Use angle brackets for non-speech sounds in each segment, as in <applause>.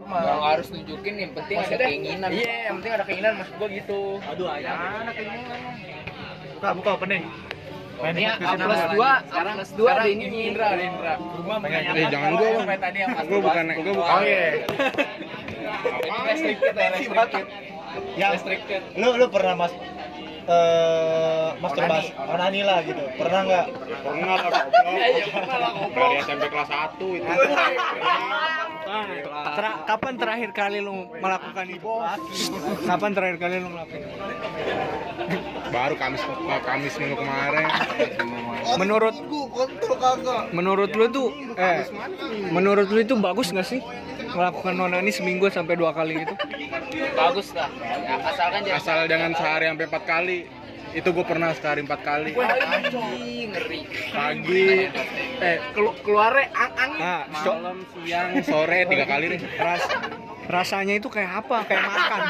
harus nunjukin yang penting ada Maksudnya, keinginan Iya, yang penting ada keinginan maksud gua gitu. Aduh, ayam. Mana keinginan? Buka, buka opening. Main Ini diskusi A dulu. plus dua, A plus dua ada sekarang ini Indra, Indra. Gua menanyakan Eh, jangan kalau gua, sampai tadi yang Mas Gua Bas bukan- gua bukan. keluar. Oh, iya. Ini restricted ya, restricted. yang Restricted. lu lu pernah mas eh masturbasi Onani. onani lah gitu pernah nggak Pernah lah goblok. Dari SMP kelas 1 itu. Tera- kapan terakhir kali lu melakukan itu? Kapan terakhir kali lu melakukan? itu? Baru Kamis eh, Kamis minggu kemarin. Menurut Menurut lu tuh eh menurut lu itu bagus nggak sih melakukan onani seminggu sampai dua kali gitu? itu? bagus lah Ya, asalkan jangan Asal dengan sehari sampai 4 kali. Itu gue pernah sehari 4 kali. Anjing, ngeri Pagi, eh Kelu- keluarnya ang-ang. Nah, so- malam, siang, sore tiga kali nih. ras- rasanya itu kayak apa? Kayak makan.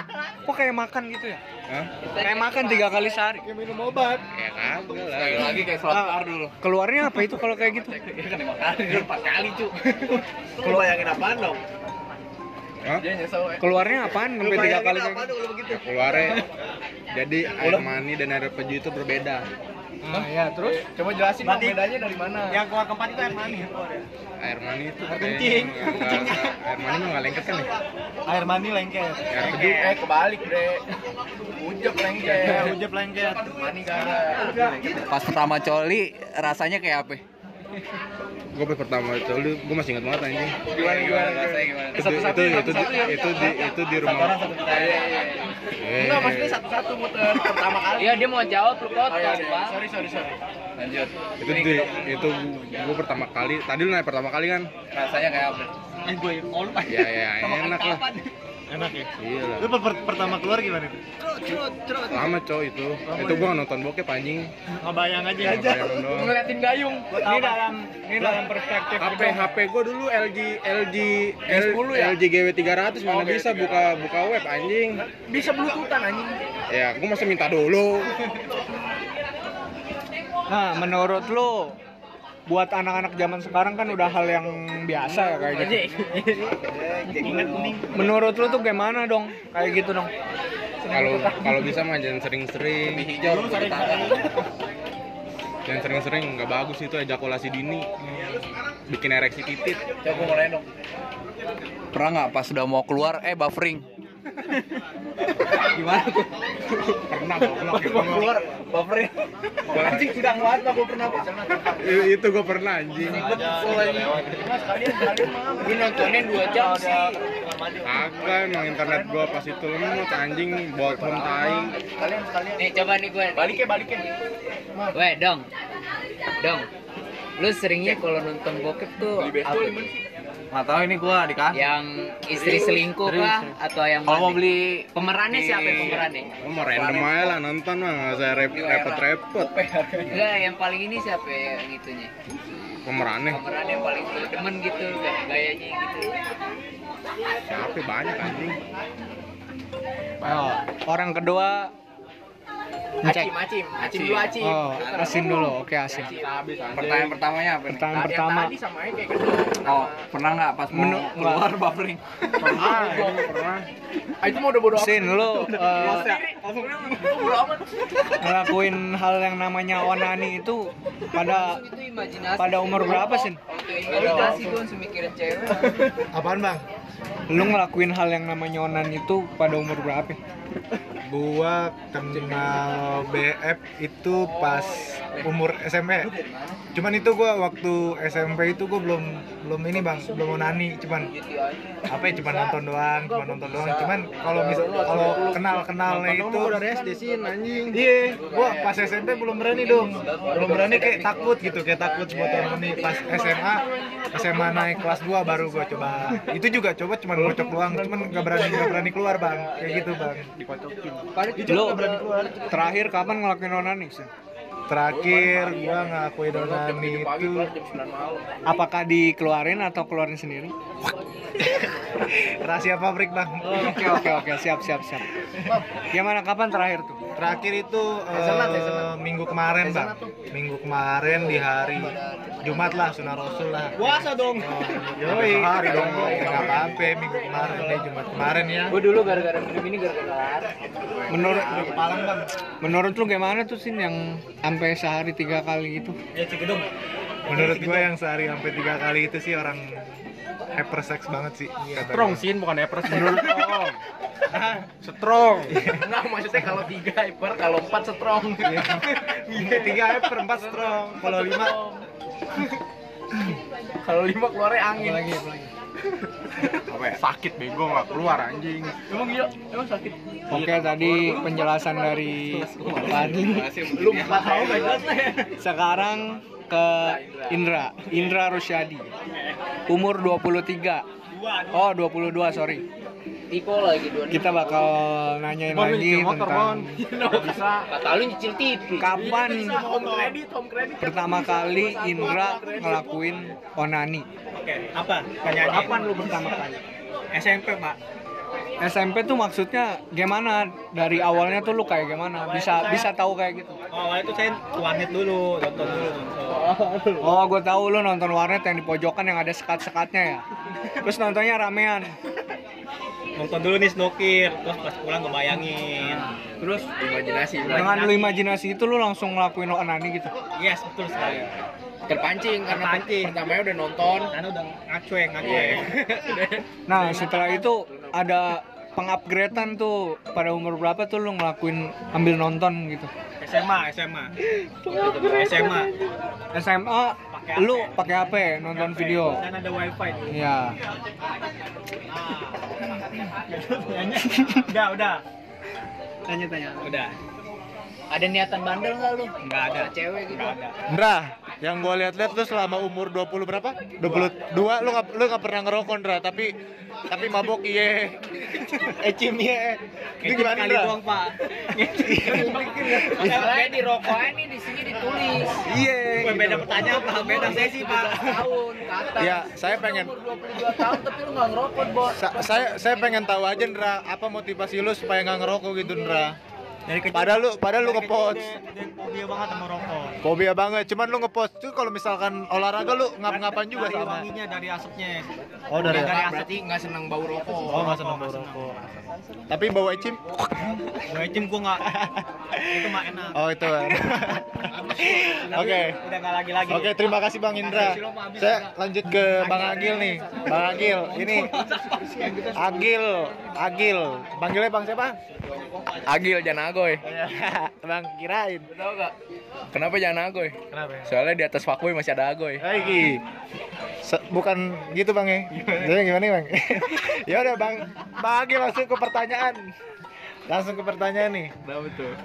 Kok kayak makan gitu ya? Hah? Kayak makan tiga kali sehari. Ya kagak lah. Lagi kayak sholat Ah. tahar dulu. Keluarnya apa itu kalau kayak gitu? Iya kan emang kali dulu empat kali cu. Lu bayangin apaan dong? Hah? Iya. Dia nyesel. eh. Keluarnya apaan sampai tiga kali kayak gitu? kalau begitu? Ya, keluarnya jadi air mani dan air peju itu berbeda. Nah, ya terus Coba jelasin dong Berarti- bedanya dari mana? Yang keluar keempat itu yang mana? Air mani itu Air kencing. Nggak- nggak- air mani mah nggak lengket kan ya? air mani lengket Air peju Eh kebalik bre. Ujep Eh, lengket. ujep lengket Mani kagak. Pas pertama coli rasanya kayak apa? gue pertama itu lu gue masih ingat banget anjing Gimana gimana rasanya gimana? itu itu itu di, itu di itu di rumah Iya, Eh, Enggak maksudnya satu-satu muter pertama kali. Iya dia mau jawab lu Oh, iya, kotor iya. bang Sorry sorry sorry. Lanjut. itu di itu gue pertama kali tadi lu nanya pertama kali <laughs> kan rasanya kayak apa? ya ya enak lah enak ya iya lah lu per- per- pertama keluar gimana itu lama cow itu itu gue nonton bokep anjing ngebayang iya. aja Nonton doang. Ngeliatin gayung. ini dalam ini dalam perspektif HP itu. HP gue dulu LG LG L, G10 ya? LG GW 300 Oh, mana bisa buka buka web anjing Bisa bluetoothan anjing. ya gue masih minta dulu Nah, menurut lu buat anak-anak zaman sekarang kan udah hal yang biasa ya kayak gitu. Menurut lu tuh gimana dong? Kayak gitu dong. kalau kalau bisa mah jangan sering-sering Hijau lu sering Jangan sering-sering nggak bagus itu ejakulasi dini. Bikin ereksi titit. Coba gua mulai dong. Pernah nggak pas udah mau keluar eh buffering? Gimana tuh? Pernah goblok <laughs> itu. Gua keluar buffering. Anjing sudah banget Pak, gua pernah Pak. I- itu gue pernah anjing. Iya, gue nontonnya dua jam sih Kagak emang internet gua pas itu lemot anjing bottom tai. Kalian sekalian. nih coba nih gue Balikin balikin. Weh, dong. Dong. Lu seringnya kalau nonton bokep tuh apa tuh? Nggak tahu ini gua di kafe. yang istri selingkuh kah atau yang Kalau mau mana? beli pemerannya siapa yang pemerannya? Lu mau random aja lah nonton mah nggak usah rep- repot-repot. Enggak, yang paling ini siapa ya yang itunya? Pemerannya Pemeran yang paling lu demen gitu, gay- gayanya gitu. siapa ya? banyak anjing. Oh, orang kedua Acim, ngecek. acim, acim dulu acim. Oh, asin dulu. Oke, asin. pertanyaan pertamanya apa nih? Iya. Pertanyaan pertama. Tadi sama aja kayak gitu. Oh, pernah nggak pas mau Menu- keluar buffering? Nah, ya? Ah, itu mau udah bodo Sin lu eh, Bodo amat. ngelakuin hal yang namanya onani itu pada Langsung itu imajinasi. pada umur berapa, Sin? Waktu imajinasi gue langsung mikirin cewek. apaan bang Lu ngelakuin hal yang namanya onani itu pada umur berapa? gua kenal BF itu pas umur SMP cuman itu gua waktu SMP itu gua belum belum ini bang belum nani cuman apa ya cuman nonton doang cuman nonton doang cuman kalau mis- kalau kenal kenalnya itu SD sih anjing. Iya, gua pas SMP belum berani dong. Belum berani kayak takut gitu, kayak takut buat tahun ini. Pas SMA, SMA naik kelas 2 baru gua coba. Itu juga coba cuman ngocok doang, cuman nggak berani nggak berani keluar, Bang. Kayak gitu, Bang. Lu terakhir kapan ngelakuin ya? onani, Sin? Terakhir gua ngakuin onani itu Apakah dikeluarin atau keluarin sendiri? <laughs> rahasia pabrik, Bang. Oke oke oke siap siap siap. Gimana kapan terakhir tuh? Terakhir itu eh, Hazelnut, hazelnut. minggu kemarin bang, minggu kemarin di hari Jumat lah, sunah Rasul lah. Puasa dong. Yoi, hari dong, nggak apa-apa. Minggu kemarin deh, Jumat kemarin ya. Gue dulu gara-gara minum ini gara-gara lalat. Menurut Kepala bang, Iya, menurut lu gimana tuh sih yang sampai sehari tiga kali gitu? Ya Cigedong. menurut gue yang sehari sampai tiga kali itu sih orang hypersex banget sih. kata gua. Strong sin bukan Everest. Menurut Strong. Enggak maksudnya kalau tiga hyper, kalau empat strong. Iya, tiga hyper, empat strong, kalau lima Kalau lima keluarnya angin. Apa ya? Sakit bego nggak keluar anjing. Emang iya, emang sakit. Oke Iya, tadi penjelasan dari Fadli. Lu empat tahun gak jelas nih. Sekarang ke Indra, Indra Rusyadi. Umur 23. Oh, 22, sorry. Iko lagi dua Kita bakal nanyain lagi tentang Kata lu nyicil TV. kapan Home credit, home credit. pertama kali Indra ngelakuin onani. Apa? Tanya Kapan lu pertama kali? SMP, Pak. SMP tuh maksudnya gimana? Dari awalnya tuh lu kayak gimana? Bisa bisa tahu kayak gitu. Oh, Awalnya itu saya warnet dulu, nonton dulu, nonton. Oh, gue tahu lu nonton warnet yang di pojokan yang ada <laughs> sekat-sekatnya ya. Terus nontonnya ramean. Nonton dulu nih snokir, terus pas pulang kebayangin. Terus Imajinasi. dengan lu imajinasi itu lu langsung ngelakuin onani gitu. Yes, betul sekali. Terpancing karena Terpancing. pertamanya udah nonton. Karena udah ngacueng, ngacueng. Nah, setelah itu ada pengupgradean tuh pada umur berapa tuh lu ngelakuin ambil nonton gitu. SMA, SMA. SMA. SMA lu pakai HP nonton video. Dan ada wifi nih. Iya. udah, udah. Tanya-tanya. Udah. Ada niatan bandel nggak lu? Nggak ada. Sama Cewek gitu. Nggak ada. Ndra, yang gue lihat-lihat lu selama umur 20 berapa? 22, lu gak, lu gak pernah ngerokok Ndra, tapi tapi mabok iye. Eh, Ecim iye. Itu Ngecip gimana kali Ndra? doang, Pak. Masalahnya Masalahnya di rokoknya nih di sini ditulis. Iye. Bukan beda pertanyaan, Pak. Beda sesi, Pak. 17 tahun ke atas. Ya, saya pengen- Umur 22 tahun tapi lu nggak ngerokok, Bos. Sa- saya saya pengen tahu aja Ndra, apa motivasi lu supaya nggak ngerokok gitu Ndra? Dari kecil. Padahal lu padahal lu dari kecil ngepost. udah- udah Fobia banget sama rokok. Fobia banget, cuman lu ngepost tuh kalau misalkan olahraga lu ngap-ngapan juga dari sama. wanginya, dari asapnya. Oh dari Dari asap. Berarti nggak senang bau rokok. Oh, nggak senang bau rokok. Tapi bau ecim. Gue cim gue nggak. Itu mah enak. Oh <laughs> itu. Oke. eh, Udah nggak lagi lagi. Oke, terima kasih Bang Indra. Saya lanjut ke Bang Agil nih. Bang Agil, ini Agil, Agil. Panggilnya Bang siapa? Agil jangan agoy. bang kirain. Kenapa jangan agoy? Kenapa? Soalnya di atas fuckboy masih ada agoy. Lagi. Se- bukan gitu Bang ya. Jadi gimana Bang? <laughs> ya udah Bang, Bang Agil langsung ke pertanyaan. Langsung ke pertanyaan nih. betul.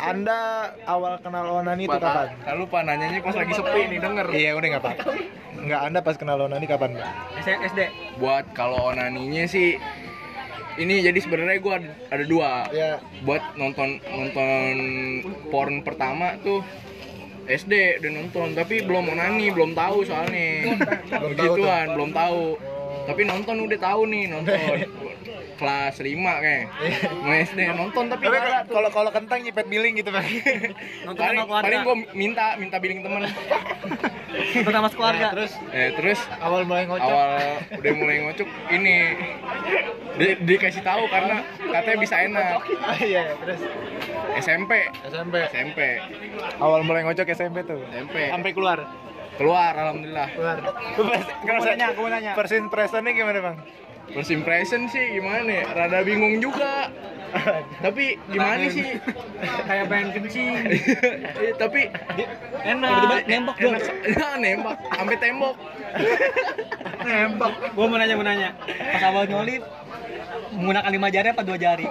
Anda awal kenal onani itu kapan? Lalu lupa nanyanya pas lagi sepi nih denger. Iya, udah nggak apa-apa. Nggak, Anda pas kenal onani kapan, Bang? SD. Buat kalau onaninya sih ini jadi sebenarnya gua ada, ada dua. Ya, Buat nonton nonton porn pertama tuh SD udah nonton tapi belum onani belum tahu soalnya Belum tahu gituan belum Oh. tahu tapi nonton udah tahu nih <laughs> nonton kelas 5 kayak Iya. mau SD nonton tapi Tapi nggak ada tuh. kalau kalau kentang nyipet billing gitu bang. Nonton paling, sama keluarga. paling gue minta minta billing temen <laughs> Nonton sama keluarga. Terus eh terus <laughs> Awal mulai ngocok. awal udah mulai ngocok ini di- dikasih tahu karena katanya bisa enak Ah, <laughs> iya, terus SMP SMP. SMP Awal mulai ngocok SMP tuh. SMP Sampai keluar. keluar alhamdulillah Keluar. Ngerasanya aku mau nanya. First impressionnya gimana bang? first impression sih gimana ya rada bingung juga tapi gimana sih <laughs> Kayak pengen kencing. Eh, tapi <laughs> enak. nembak dong. enak nah, nembak sampai tembok Nembak. Gue mau nanya mau nanya. Pas awal nyolip menggunakan lima jari apa dua jari?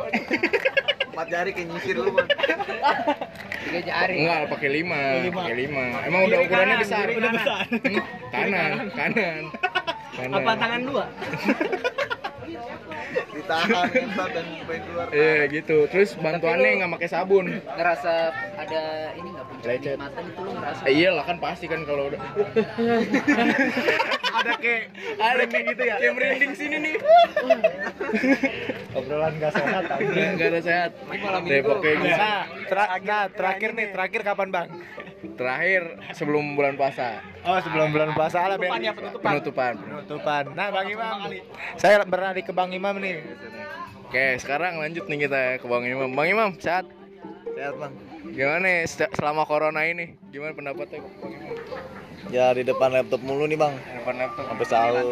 Tiga jari. enggak pakai lima lima. pakai lima emang udah ukurannya besar Udah besar. Hmm, kanan kanan kanan Apa tangan dua? ditahan entar dan main keluar Iya gitu. Terus bantuannya nggak pakai sabun. ngerasa ada ini nggak puncak Lecet. nikmatan itu lu ngerasa Eh, Iya lah kan pasti kan kalau udah ada kayak ada kayak gitu ya. Kayak merinding sini nih. obrolan gak sehat Nggak nggak ada sehat. Depok kayak Iya. gitu. Iya. Nah, terakhir nih terakhir kapan bang Terakhir sebelum bulan puasa oh sebelum bulan puasa lah Ben. penutupan. penutupan nah bang imam saya pernah di ke bang imam nih Oke sekarang lanjut nih kita ke Bang Imam. Bang Imam sehat. Sehat bang. Gimana nih se- selama corona ini? Gimana pendapatnya? Bang Imam? Ya di depan laptop mulu nih bang. Depan laptop. Sampai sahur.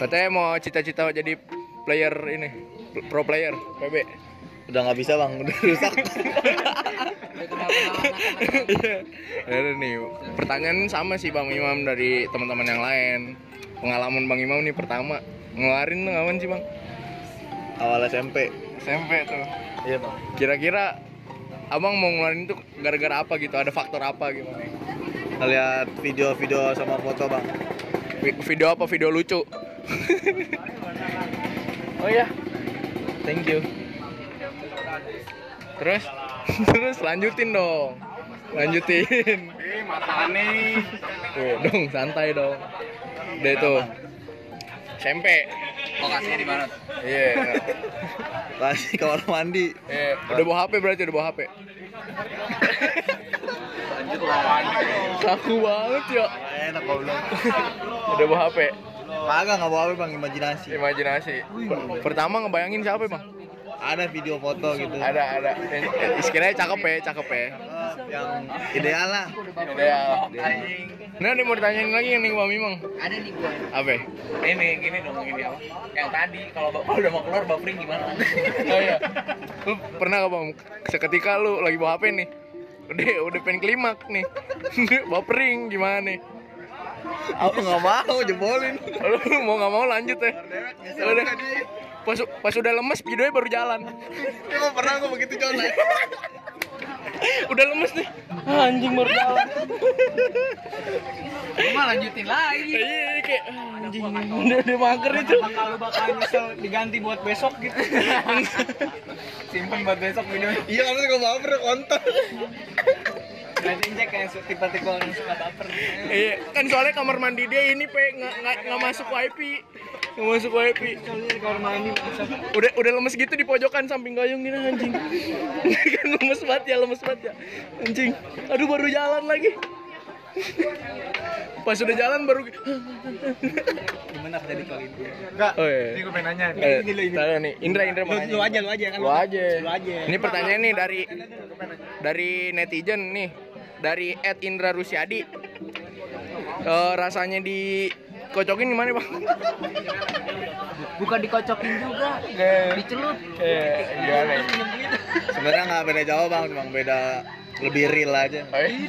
Katanya mau cita-cita jadi player ini pl- pro player PB. Udah nggak bisa bang, udah <laughs> rusak. Ada Iya. nih pertanyaan sama sih Bang Imam dari teman-teman yang lain. Pengalaman Bang Imam nih pertama ngeluarin tuh kapan sih Bang? Awal SMP. SMP tuh. Iya bang. Kira-kira Abang mau ngeluarin tuh gara-gara apa gitu? Ada faktor apa gitu? Lihat video-video sama foto bang. Vi- Video apa? <laughs> Video lucu. oh iya. ya. Thank you. Terus <laughs> terus lanjutin dong. Lanjutin. Eh, mata aneh. Tuh, dong, santai dong. Udah itu. SMP. lokasinya di mana Iya. Lari kamar mandi. Eh, udah bawa HP berarti udah bawa HP. Kaku banget ya. Enak goblok. Udah bawa HP. Kagak nggak apa-apa bang, imajinasi. Imajinasi. Per- Pertama ngebayangin siapa, Bang? Ada video foto gitu. Ada, ada. Eh, eh, Sekiranya cakep ya, cakep ya. Eh, yang ideal lah. Udah. Nah, ini mau ditanyain lagi nih Bang Mimang. ada nih gua Apa? ini gini dong gini apa yang tadi kalau bapak udah mau keluar buffering gimana Oh iya. Lu pernah gak Bang seketika lu lagi bawa HP nih? Udah, udah pengen klimak nih. <laughs> Bapering gimana nih? Aku nggak mau jebolin. lu mau nggak mau lanjut ya udah pas pas udah lemes videonya baru jalan Kok pernah aku begitu John? ya? <laughs> udah lemes nih Ah, anjing baru jalan cuma lanjutin lagi iya kayak ah, anjing udah udah mager itu bakal lu bakal nyesel diganti buat besok gitu simpen buat besok videonya Iya harus nggak baper konten. gantiin cek yang su- tipe-tipe orang suka baper iya kan soalnya kamar mandi dia ini pe nggak nggak nggak masuk wifi nggak masuk wifi soalnya di kamar mandi masuk udah udah lemes gitu di pojokan samping gayung gini anjing <laughs> kan lemes banget ya lemes banget ya anjing aduh baru jalan lagi pas udah jalan baru gimana aku jadi kali ini enggak Oh, iya. ini gue pengen nanya nih. Eh, taruh nih Indra Indra mau nanya. lu aja lu aja kan lu aja. Lu aja. Ini pertanyaan nih dari dari netizen nih dari Ed Indra Rusyadi. Eh, rasanya dikocokin gimana bang? bukan dikocokin juga dicelup Eh, gimana? Sebenarnya nggak beda jauh bang, cuma beda lebih real aja.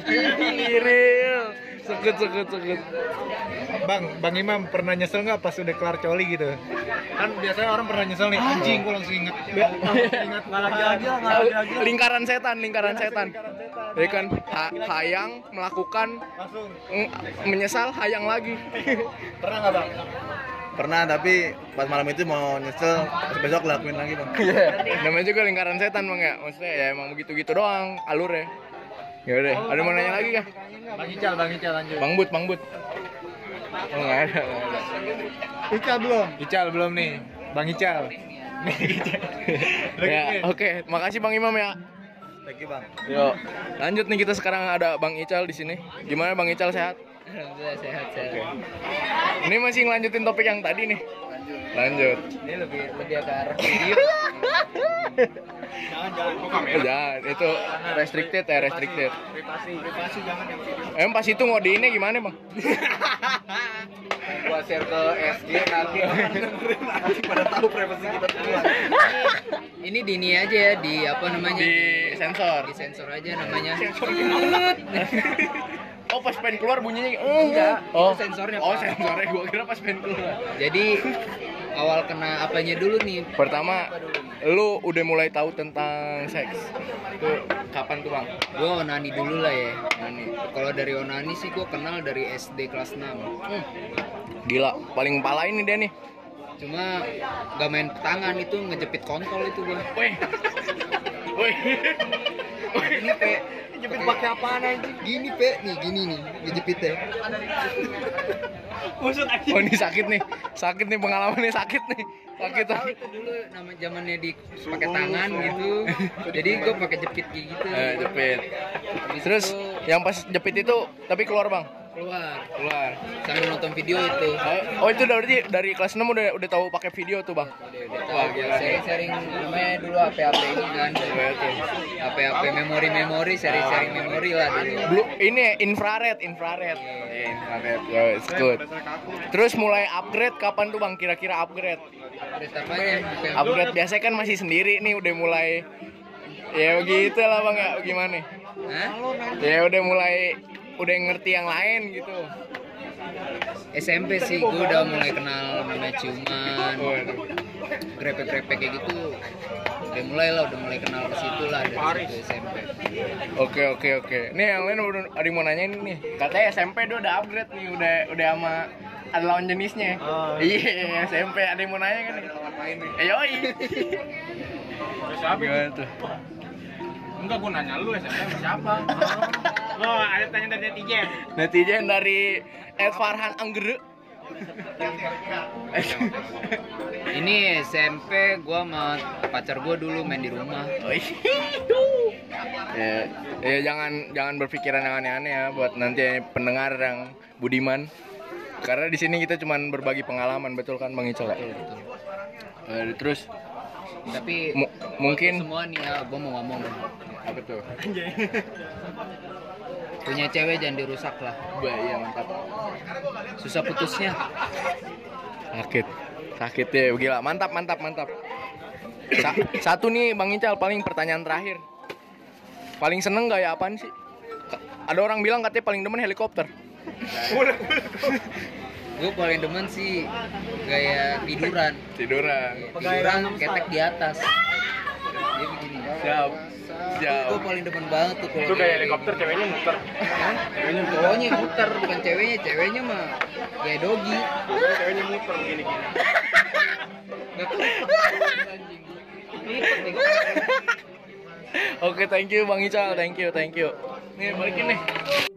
<laughs> Iril, sekut sekut sekut. bang bang imam pernah nyesel nggak pas udah kelar coli gitu kan biasanya orang pernah nyesel nih anjing gue langsung inget ingat nggak lagi lagi lah nggak lagi lagi Eh, Lingkaran setan, lingkaran setan. Ya kan, ha- hayang melakukan langsung mm, menyesal hayang lagi. pernah nggak bang Pernah tapi pas malam itu mau nyesel, pas besok lakuin lagi bang. Namanya juga lingkaran setan bang ya. Maksudnya ya emang begitu-gitu doang alurnya. Ya udah, ada mau nanya lagi ya? kah? bang ical bang ical lanjut Bang Bud, Bang Bud. Oh, nggak ada. nggak <laughs> ada. ical belum ical belum nih bang ical Ya, oke. Makasih Bang Imam ya. Thank you bang. Yuk. Lanjut nih kita sekarang ada Bang Ical di sini. Gimana Bang Ical sehat? Alhamdulillah sehat sehat Ini masih ngelanjutin topik yang tadi nih. Lanjut. ini lebih lebih agak arah video Oh, jangan, itu restricted ya, restricted. Emang pas itu ngodiinnya gimana, Bang? Gua share ke SG nanti orang dengerin nanti pada tahu privasi kita semua. ini di ini aja ya di apa namanya Di sensor. di sensor aja namanya Oh, pas pengen keluar bunyinya Enggak, Oh, itu sensornya, Oh, Pak. sensornya gua kira pas pengen keluar. jadi awal kena apanya dulu nih Pertama, lu udah mulai tahu tentang seks. Tuh, kapan tuh, Bang? gua onani dulu lah ya Nani. kalau dari onani sih gua kenal dari SD kelas 6 Gila, paling pala ini dia nih. Cuma gak main tangan itu ngejepit kontol itu gua. Weh. Weh. Ini pe jepit pakai apaan aja? Gini pe, nih gini nih ngejepitnya. Usut aja. Oh ini sakit nih. Sakit nih pengalamannya sakit nih. Sakit. Tahu itu dulu nama zamannya di pakai tangan gitu. Jadi gua pakai jepit kayak gitu. Eh, jepit. Habis Terus itu yang pas jepit itu tapi keluar, Bang. keluar Keluar. sambil nonton video itu. Oh, itu udah berarti dari kelas 6 udah udah tahu pakai video tuh, Bang. Wah, Saya sharing namanya dulu HP-HP ini kan. HP-HP memori-memori, sharing-sharing memori lah dulu. Blue, ini ya, infrared, infrared. Iya, infrared. Yo, it's good. Terus mulai upgrade kapan tuh, Bang? Kira-kira upgrade. Terus apanya? Bukan- Upgrade biasanya kan masih sendiri nih udah mulai Ya begitu lah, Bang. Ya gimana? Hah? Ya udah mulai udah ngerti yang lain gitu. SMP sih, gue udah mulai kenal namanya ciuman, Oh, iya. grepe-grepe kayak gitu. Udah mulai lah, udah mulai kenal ke situ lah dari situ SMP. Oke oke oke. Nih yang lain udah ada yang mau nanyain nih. Katanya SMP dia udah upgrade nih, udah udah sama ada lawan jenisnya. Iya SMP ada yang mau nanya kan? Ada lawan main nih. Yoi. Gimana tuh? Enggak, gua nanya lu SMP sama <laughs> siapa? Lo ada tanya dari netizen. Netizen dari Ed Farhan Anggere. Ini SMP gue sama pacar gue dulu main di rumah. <laughs> ya, ya jangan jangan berpikiran yang aneh-aneh ya buat nanti pendengar yang budiman. Karena di sini kita cuman berbagi pengalaman, betul kan Bang Icel? ya? Eh, terus gitu. Tapi mu- mungkin semua nih ya, gue mau ngomong. apa tuh? Punya cewek jangan dirusak lah, Bah, iya mantap. susah putusnya. Sakit. Sakit ya, gila. Mantap, mantap, mantap. Sa- satu nih Bang Ical paling pertanyaan terakhir. Paling seneng gak ya apaan sih? Ka- Ada orang bilang katanya paling demen helikopter. Gue paling demen sih gaya tiduran. Iya, Tiduran. Tiduran ketek di atas. Dia begini. Siap. Siap. Gue paling demen banget tuh kalau Itu kayak kayak gitu. helikopter ceweknya muter. Hah? Ceweknya muter. Cowoknya yang muter bukan ceweknya, ceweknya mah kayak dogi. Ceweknya muter gini-gini. Oke, thank you Bang Ical. Thank you, thank you. Nih, balikin nih.